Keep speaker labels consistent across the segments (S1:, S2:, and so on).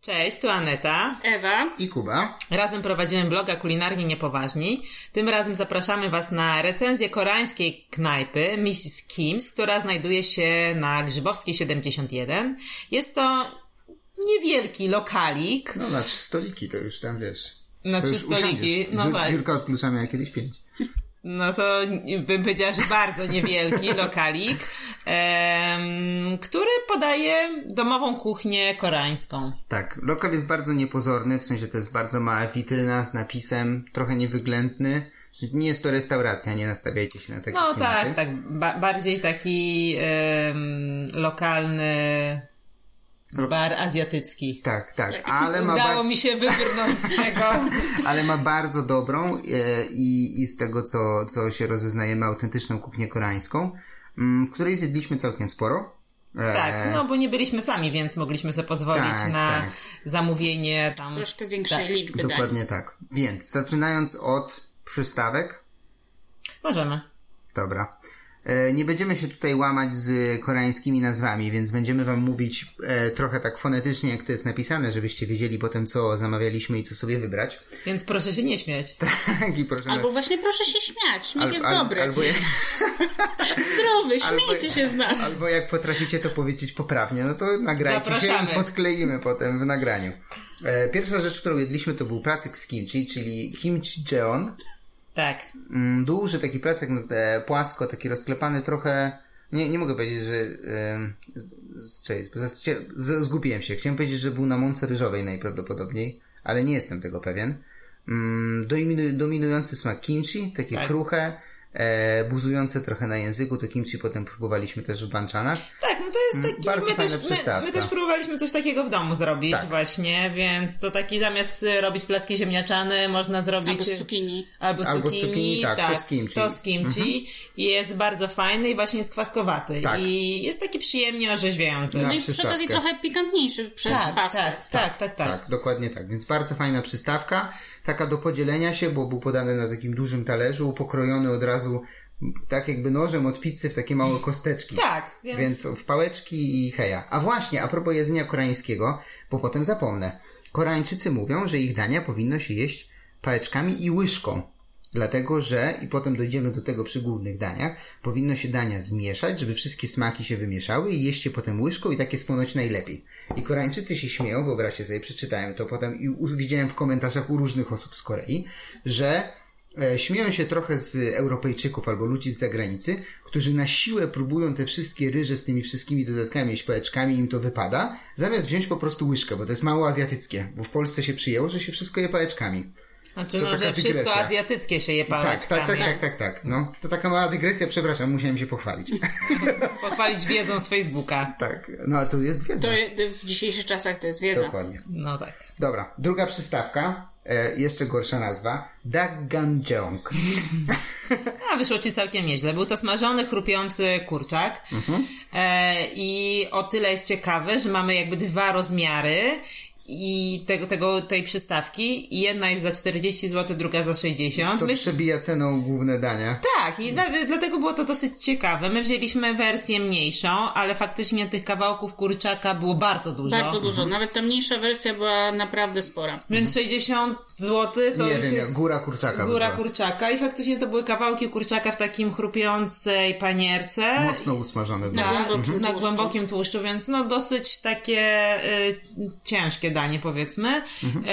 S1: Cześć, tu Aneta.
S2: Ewa.
S3: i Kuba.
S1: Razem prowadzimy bloga Kulinarnie Niepoważni. Tym razem zapraszamy Was na recenzję koreańskiej knajpy Mrs. Kim's, która znajduje się na Grzybowskiej 71. Jest to niewielki lokalik.
S3: No na trzy stoliki, to już tam wiesz.
S1: Na
S3: to
S1: trzy
S3: już
S1: stoliki,
S3: usiądziesz.
S1: no
S3: Dziur-
S1: właśnie.
S3: Dziurka od klucza miała kiedyś pięć.
S1: No to bym powiedziała, że bardzo niewielki lokalik, em, który podaje domową kuchnię koreańską.
S3: Tak, lokal jest bardzo niepozorny, w sensie to jest bardzo mała witryna z napisem, trochę niewyględny. Nie jest to restauracja, nie nastawiajcie się na takie
S1: No
S3: klimaty.
S1: tak, tak. Ba- bardziej taki em, lokalny bar azjatycki.
S3: Tak, tak, ale ma,
S1: Udało
S3: bar-
S1: mi się wybrnąć z tego.
S3: ale ma bardzo dobrą e, i, i z tego, co, co się rozeznajemy, autentyczną kuchnię koreańską, mm, w której zjedliśmy całkiem sporo. E,
S1: Tak, no bo nie byliśmy sami, więc mogliśmy sobie pozwolić
S3: Tak,
S1: na
S3: tak.
S1: zamówienie tam.
S2: Troszkę większej liczby dań.
S3: Dokładnie tak. Więc zaczynając od przystawek,
S1: Możemy.
S3: Dobra. E, Nie będziemy się tutaj łamać z koreańskimi nazwami, więc będziemy Wam mówić e, trochę tak fonetycznie, jak to jest napisane, żebyście wiedzieli potem, co zamawialiśmy i co sobie wybrać.
S1: Więc proszę się nie śmiać.
S3: Tak. I proszę na-
S2: Tak. Albo No właśnie proszę się śmiać, śmiech
S3: al-
S2: jest
S3: al-
S2: dobry.
S3: Albo jak,
S2: Zdrowy,
S3: albo-
S2: śmiejcie się z nas.
S3: albo jak potraficie to powiedzieć poprawnie, no to nagrajcie
S1: Zapraszamy.
S3: się i podkleimy potem w nagraniu. E, Pierwsza rzecz, którą jedliśmy, to był placek z kimchi, czyli kimchi jeon.
S1: Tak.
S3: Mm, duży taki plecak, no, e, płasko, taki rozklepany trochę. Nie, nie mogę powiedzieć, że. em, z- z- Cześć, bo zas- się- z- zgubiłem się. Chciałem powiedzieć, że był na mące ryżowej najprawdopodobniej, ale nie jestem tego pewien. Mm, Dominu, dominujący smak kimchi, takie
S1: Tak.
S3: kruche, e, buzujące trochę na języku. To kimchi potem próbowaliśmy też w banchanach.
S1: Tak, no to jest taki.
S3: Mm, Bardzo
S1: my,
S3: fajna
S1: też, my,
S3: przystawka.
S1: my też próbowaliśmy coś takiego w domu zrobić,
S3: Tak.
S1: właśnie, więc to taki zamiast y, robić placki ziemniaczane, można zrobić.
S2: Albo z cukinii.
S1: Albo z
S3: Albo z
S1: cukinii,
S3: cukinii, tak, to z kimchi. Mhm.
S1: To z kimchi. I Jest bardzo fajny i właśnie jest kwaskowaty.
S3: Tak.
S1: I jest taki przyjemnie orzeźwiający.
S3: No
S2: No i przy
S3: przystawkę.
S2: okazji trochę pikantniejszy przez
S1: tak, tak,
S2: pastę.
S1: tak, tak, tak,
S3: Tak. dokładnie tak. Więc bardzo fajna przystawka, taka do podzielenia się, bo był podany na takim dużym talerzu, pokrojony od razu m, tak jakby nożem od pizzy w takie małe kosteczki.
S1: Tak, więc-
S3: więc w pałeczki i heja. A właśnie, a propos jedzenia koreańskiego, bo potem zapomnę. Koreańczycy mówią, że ich dania powinno się jeść pałeczkami i łyżką. Dlatego, że, i potem dojdziemy do tego przy głównych daniach, powinno się dania zmieszać, żeby wszystkie smaki się wymieszały i jeść je potem łyżką i tak jest ponoć najlepiej. I Koreańczycy się śmieją, wyobraźcie sobie, przeczytałem to potem i u- widziałem w komentarzach u różnych osób z Korei, że E, Śmieją się trochę z Europejczyków albo ludzi z zagranicy, którzy na siłę próbują te wszystkie ryże z tymi wszystkimi dodatkami, śpałeczkami, im to wypada, zamiast wziąć po prostu łyżkę, bo to jest mało azjatyckie, bo w Polsce się przyjęło, że się wszystko je pałeczkami.
S1: Znaczy,
S3: To
S1: no,
S3: taka
S1: że wszystko
S3: dygresja.
S1: azjatyckie się je
S3: Tak,
S1: pałeczkami.
S3: tak, tak, tak, tak, tak. No, to taka mała dygresja, przepraszam, musiałem się pochwalić.
S1: Pochwalić wiedzą z Facebooka.
S3: tak, no a tu jest wiedza.
S2: To je- to w dzisiejszych czasach to jest wiedza.
S3: Dokładnie.
S1: No tak.
S3: Dobra, druga przystawka, e, jeszcze gorsza nazwa, Dagganjeong.
S1: A wyszło ci całkiem nieźle. Był to smażony, chrupiący kurczak.
S3: Mhm.
S1: E, I o tyle jest ciekawe, że mamy jakby dwa rozmiary i tego, tego, tej przystawki. I Jedna jest za 40 zł, druga za 60.
S3: co
S1: My
S3: przebija ceną główne dania.
S1: Tak, i dla, dlatego było to dosyć ciekawe. My wzięliśmy wersję mniejszą, ale faktycznie tych kawałków kurczaka było bardzo dużo.
S2: Bardzo
S3: Mhm.
S2: dużo. Nawet ta mniejsza wersja była naprawdę spora.
S1: Więc 60 zł to
S3: Nie
S1: już
S3: wiem,
S1: jest
S3: góra kurczaka
S1: Góra
S3: by była.
S1: kurczaka i faktycznie to były kawałki kurczaka w takim chrupiącej panierce.
S3: Mocno usmażone było.
S1: Na,
S2: głębokim
S1: na
S2: tłuszczu.
S1: głębokim tłuszczu, więc no dosyć takie y, ciężkie danie powiedzmy.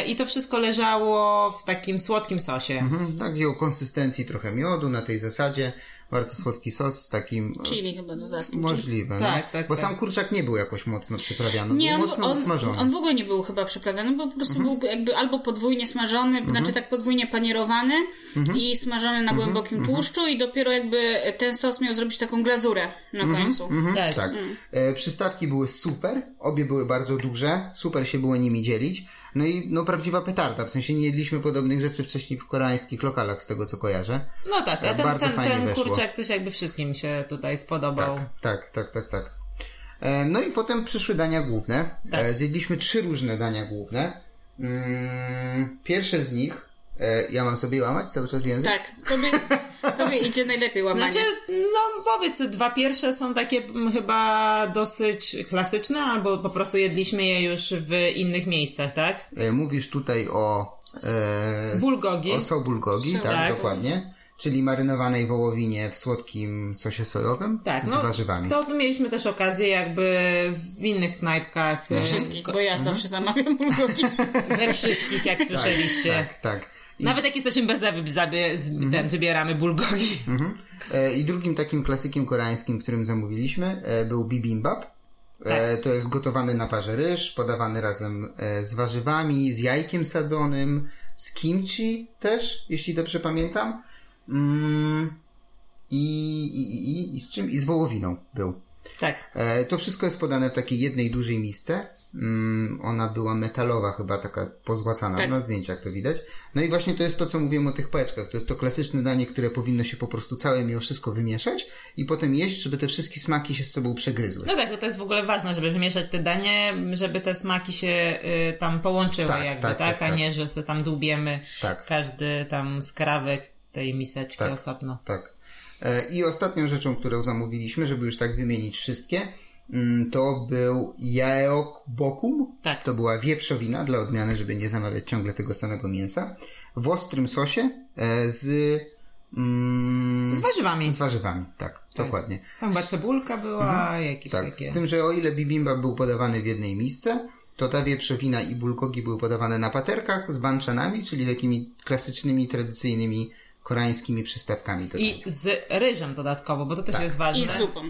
S1: Y, I to wszystko leżało w takim słodkim sosie.
S3: Mhm, Takiej o konsystencji trochę miodu na tej zasadzie. Bardzo słodki sos z takim. e,
S2: Chili chyba dodatkiem. czy-
S3: Możliwe.
S1: Tak,
S3: no.
S1: tak,
S3: Bo
S1: tak.
S3: sam kurczak nie był jakoś mocno przyprawiany.
S2: Nie,
S3: był
S2: on,
S3: mocno
S2: on,
S3: usmażony. Mhm.
S2: on w ogóle nie był chyba przyprawiony, bo po prostu był jakby albo podwójnie smażony, znaczy tak podwójnie panierowany
S3: Mhm.
S2: i smażony na głębokim tłuszczu i dopiero jakby ten sos miał zrobić taką glazurę na końcu.
S1: Tak.
S3: Tak.
S2: Mm.
S3: E, przystawki były super, obie były bardzo duże, super się było nimi dzielić. No i no prawdziwa petarda, w sensie nie jedliśmy podobnych rzeczy wcześniej w koreańskich lokalach, z tego co kojarzę.
S1: No tak, a
S3: Tak,
S1: ten,
S3: bardzo
S1: ten,
S3: fajnie
S1: ten
S3: weszło.
S1: kurczak też jakby wszystkim się tutaj spodobał.
S3: Tak, tak, tak, tak, tak. E, No i potem przyszły dania główne.
S1: Tak.
S3: E, Zjedliśmy trzy różne dania główne. Mm, Pierwsze z nich, e, ja mam sobie łamać cały czas język?
S2: Tak, tobie, Tobie idzie najlepiej łamanie.
S1: Znaczy, no powiedz, dwa pierwsze są takie m, chyba dosyć klasyczne, albo po prostu jedliśmy je już w innych miejscach, tak?
S3: E, Mówisz tutaj o... E, s-
S1: Bulgogi.
S3: O so bulgogi, tak,
S1: Tak.
S3: dokładnie. Czyli marynowanej wołowinie w słodkim sosie sojowym
S1: Tak,
S3: z
S1: no,
S3: warzywami.
S1: To mieliśmy też okazję jakby w innych knajpkach, e,
S2: Wszystkich,
S1: ko-
S2: bo ja zawsze
S3: Mhm.
S2: zamawiam bulgogi.
S1: we wszystkich, jak słyszeliście.
S3: Tak, Mhm. tak. I,
S1: Nawet jak jesteśmy bez zaby, zaby, z, ten, wybieramy bulgogi.
S3: e, I drugim takim klasykiem koreańskim, którym zamówiliśmy, e, był bibimbap. E, to jest gotowany na parze ryż, podawany razem e, z warzywami, z jajkiem sadzonym, z kimchi też, jeśli dobrze pamiętam. Mm, i, i, i, I z czym? I z wołowiną był.
S1: Tak.
S3: E, To wszystko jest podane w takiej jednej dużej misce. Mm, Ona była metalowa, chyba taka pozłacana.
S2: Tak.
S3: Na zdjęciach to widać. No i właśnie to jest to, co mówiłem o tych pałeczkach. To jest to klasyczne danie, które powinno się po prostu całe mimo wszystko wymieszać i potem jeść, żeby te wszystkie smaki się z sobą przegryzły.
S1: No tak, no to jest w ogóle ważne, żeby wymieszać te danie, żeby te smaki się y, tam połączyły
S3: Tak,
S1: jakby,
S3: tak,
S1: tak?
S3: tak,
S1: A
S3: tak.
S1: nie, że sobie tam dłubiemy
S3: Tak.
S1: każdy tam skrawek tej miseczki
S3: Tak.
S1: osobno.
S3: Tak. E, I ostatnią rzeczą, którą zamówiliśmy, żeby już tak wymienić wszystkie, mm, to był jaeok bokum.
S1: Tak.
S3: To była wieprzowina dla odmiany, żeby nie zamawiać ciągle tego samego mięsa. W ostrym sosie e, z, mm,
S1: Z warzywami.
S3: z warzywami. Tak, dokładnie.
S1: Tam chyba cebulka była, jakieś
S3: Tak,
S1: takie.
S3: z tym, że o ile bibimbap był podawany w jednej misce, to ta wieprzowina i bulgogi były podawane na paterkach z banchanami, czyli takimi klasycznymi, tradycyjnymi koreańskimi przystawkami. do
S1: I z ryżem dodatkowo, bo to
S3: Tak.
S1: też jest ważne.
S2: I z zupą.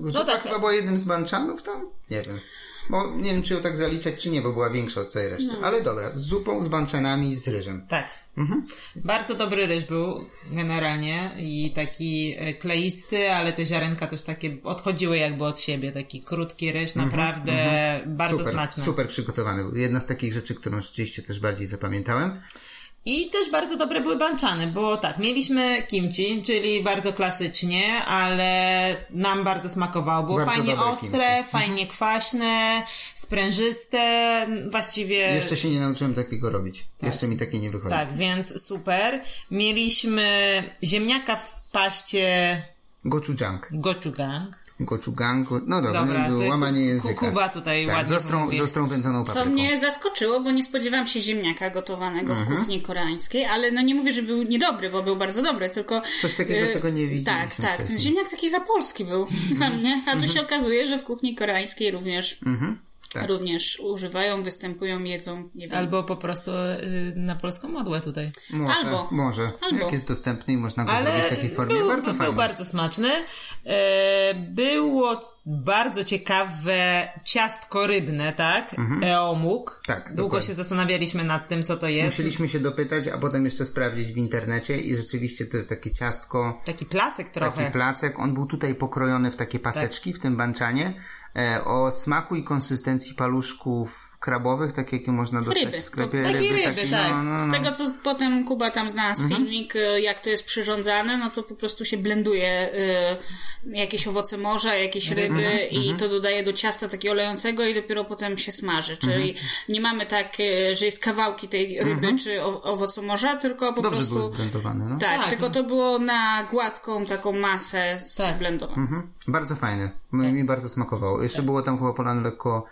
S3: No
S1: tak.
S3: tak. chyba była jednym z banczanów tam? Nie wiem. Bo nie wiem, czy ją tak zaliczać, czy nie, bo była większa od całej reszty.
S1: No.
S3: Ale dobra, z zupą, z banczanami, z ryżem.
S1: Tak.
S3: Mhm.
S1: Bardzo dobry ryż był generalnie i taki e, kleisty, ale te ziarenka też takie odchodziły jakby od siebie. Taki krótki ryż, naprawdę bardzo
S3: Mhm. super,
S1: smaczny.
S3: super przygotowany. był. Jedna z takich rzeczy, którą rzeczywiście też bardziej zapamiętałem.
S1: I też bardzo dobre były banczany, bo tak, mieliśmy kimchi, czyli bardzo klasycznie, ale nam bardzo smakowało. Było
S3: Bardzo
S1: fajnie
S3: dobre
S1: ostre,
S3: kimchi. Mhm.
S1: fajnie kwaśne, sprężyste, właściwie...
S3: Jeszcze się nie nauczyłem takiego robić. Jeszcze mi takie nie wychodzi.
S1: E. Tak, więc super. Mieliśmy ziemniaka w paście
S3: Gochujang.
S1: gochugang.
S3: Tak. Gochugang. No dobra,
S1: Dobra,
S3: no,
S1: ty
S3: łamanie
S1: ku-
S3: języka.
S1: Kuba tutaj
S3: tak,
S1: ładnie
S3: z ostrą,
S1: mówi.
S3: z ostrą wędzoną
S2: Co
S3: papryką.
S2: mnie zaskoczyło, bo nie spodziewałam się ziemniaka gotowanego
S3: Mhm.
S2: w kuchni koreańskiej, ale no nie mówię, że był niedobry, bo był bardzo dobry, tylko...
S3: Coś takiego,
S2: e,
S3: czego nie widzieliśmy
S2: Tak, tak.
S3: wcześniej.
S2: Ziemniak taki za polski był
S3: Mhm.
S2: dla mnie, a tu się okazuje, że w kuchni koreańskiej również,
S3: tak.
S2: również używają, występują, jedzą, nie wiem.
S1: Albo po prostu y, na polską modłę tutaj.
S3: Może,
S2: Albo.
S3: może.
S2: Albo.
S3: Jak jest dostępny i można go
S1: Ale
S3: zrobić w takiej formie.
S1: był,
S3: bardzo
S1: był
S3: fajnie.
S1: bardzo smaczny. E, było bardzo ciekawe ciastko rybne, tak? Eomuk.
S3: Mhm. Tak,
S1: Długo
S3: dokładnie.
S1: się zastanawialiśmy nad tym, co to jest.
S3: Musieliśmy się dopytać, a potem jeszcze sprawdzić w internecie i rzeczywiście to jest takie ciastko,
S1: Taki placek
S3: taki
S1: trochę.
S3: placek. On był tutaj pokrojony w takie paseczki w tym banczanie e, o smaku i konsystencji paluszków krabowych, takie jakie można dostać
S2: Ryby,
S3: w sklepie.
S2: to-
S1: takie ryby, tak.
S3: No, no,
S2: Z
S3: no.
S2: tego, co potem Kuba tam zna z
S3: Mhm.
S2: filmik, e, jak to jest przyrządzane, no to po prostu się blenduje e, jakieś owoce morza, jakieś
S3: Mhm.
S2: ryby i to dodaje do ciasta takiego olejącego i dopiero potem się smaży. Czyli
S3: Mhm.
S2: nie mamy tak, e, że jest kawałki tej ryby czy o- owocu morza, tylko po
S3: Dobrze
S2: prostu...
S3: był zblendowany. No.
S2: Tak,
S1: Tak.
S2: tylko to było na gładką taką masę zblendowaną.
S3: Mhm. Bardzo fajny. Mi, mi bardzo smakowało. Jeszcze było tam chyba polane lekko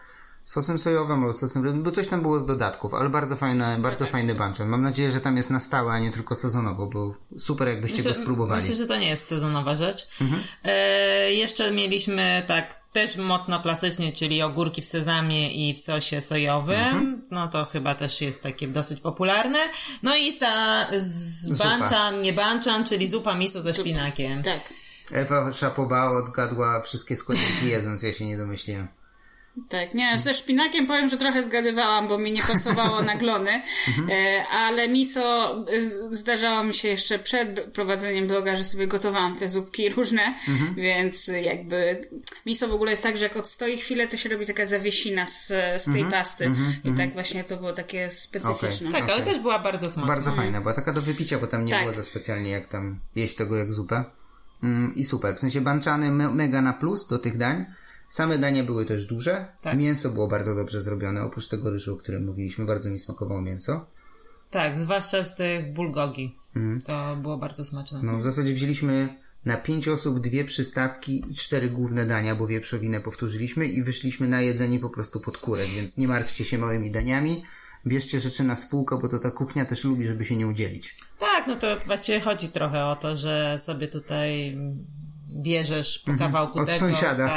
S3: sosem sojowym albo sosem rybnym, bo coś tam było z dodatków, ale bardzo fajny, bardzo fajny banchan. Mam nadzieję, że tam jest na stałe, a nie tylko sezonowo, bo super jakbyście
S1: Znaczy,
S3: go spróbowali. Mhm.
S1: Myślę, że to nie jest sezonowa rzecz. E, jeszcze mieliśmy tak też mocno klasycznie, czyli ogórki w sezamie i w sosie sojowym.
S3: Mhm.
S1: No to chyba też jest takie dosyć popularne. No i ta z
S3: Zupa.
S1: banchan, nie banchan, czyli zupa miso ze szpinakiem.
S2: Tak,
S3: Ewa Szapoba odgadła wszystkie składniki jedząc, ja się nie domyśliłem.
S2: tak. Nie, ze szpinakiem powiem, że trochę zgadywałam, bo mi nie pasowało na glony, e, ale miso e, z- zdarzało mi się jeszcze przed prowadzeniem bloga, że sobie gotowałam te zupki różne, więc jakby miso w ogóle jest tak, że jak odstoi chwilę, to się robi taka zawiesina z, z tej pasty i tak właśnie to było takie specyficzne.
S1: Tak, ale
S3: No Okej.
S1: też była bardzo smaczna.
S3: Bardzo fajna, była taka do wypicia, bo tam nie
S2: Tak.
S3: było za specjalnie jak tam jeść tego jak zupę. Mm, I super, w sensie banczany me mega na plus do tych dań. Same dania były też duże.
S1: Tak.
S3: Mięso było bardzo dobrze zrobione, oprócz tego ryżu, o którym mówiliśmy, bardzo mi smakowało mięso.
S1: Tak, zwłaszcza z tych bulgogi. To było bardzo smaczne.
S3: Mhm. No, w zasadzie wzięliśmy na pięć osób dwie przystawki i cztery główne dania, bo wieprzowinę powtórzyliśmy i wyszliśmy na jedzenie po prostu pod kurek, więc nie martwcie się małymi daniami. Bierzcie rzeczy na spółkę, bo to ta kuchnia też lubi, żeby się nie udzielić.
S1: Tak, no to właściwie chodzi trochę o to, że sobie tutaj bierzesz po kawałku
S3: Mhm. Od
S1: tego.
S3: sąsiada.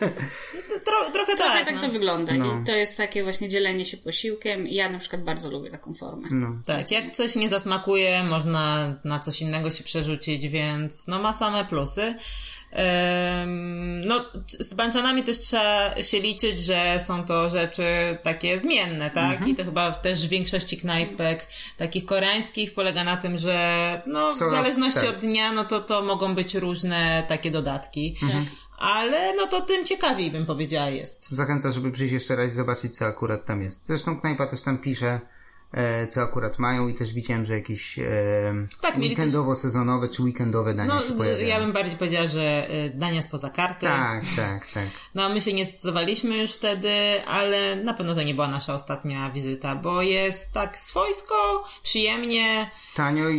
S1: Tak. No to Tro, trochę
S2: Trochę
S1: tak.
S2: tak
S1: no.
S2: to wygląda i to jest takie właśnie dzielenie się posiłkiem. Ja na przykład bardzo lubię taką formę.
S3: No,
S1: Tak, jak coś nie zasmakuje, można na coś innego się przerzucić, więc no ma same plusy. Ym, no, z banchanami też trzeba się liczyć, że są to rzeczy takie zmienne, tak?
S3: Mhm.
S1: I to chyba też w większości knajpek takich koreańskich polega na tym, że no, w
S3: Co-
S1: zależności
S3: tak.
S1: od dnia, no to to mogą być różne takie dodatki.
S3: Mhm.
S1: Ale no to tym ciekawiej bym powiedziała jest.
S3: Zachęcam, żeby przyjść jeszcze raz i zobaczyć, co akurat tam jest. Zresztą knajpa też tam pisze, e, co akurat mają i też widziałem, że jakieś e,
S1: Tak, mieli też-
S3: weekendowo-sezonowe czy weekendowe dania
S1: No,
S3: się
S1: z-
S3: pojawiają.
S1: ja bym bardziej powiedziała, że y, dania spoza karty.
S3: Tak, tak, tak.
S1: No, my się nie zdecydowaliśmy już wtedy, ale na pewno to nie była nasza ostatnia wizyta, bo jest tak swojsko, przyjemnie.
S3: Tanio i,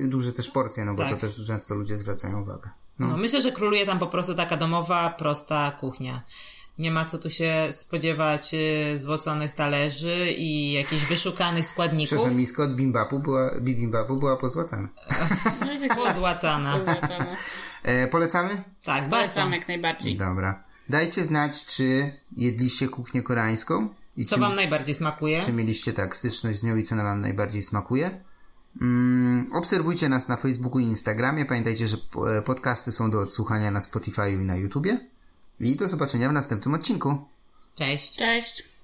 S3: i duże też porcje, no bo
S1: Tak.
S3: to też często ludzie zwracają uwagę. No.
S1: No. myślę, że króluje tam po prostu taka domowa, prosta kuchnia. Nie ma co tu się spodziewać y, złoconych talerzy i jakichś wyszukanych składników.
S3: Przepraszam, miska od bimbapu była, bibibapu była pozłacana.
S2: No i tak
S1: Pozłacana.
S2: Pozwracamy.
S3: E, polecamy?
S1: Tak, bardzo.
S2: Polecam jak najbardziej.
S3: Dobra. Dajcie znać, czy jedliście kuchnię koreańską i
S1: Co
S3: czy,
S1: wam najbardziej smakuje?
S3: czy mieliście tak styczność z nią i co wam najbardziej smakuje. Mm, obserwujcie nas na Facebooku i Instagramie. Pamiętajcie, że po- e, podcasty są do odsłuchania na Spotify i na YouTubie. I do zobaczenia w następnym odcinku.
S1: Cześć.
S2: Cześć.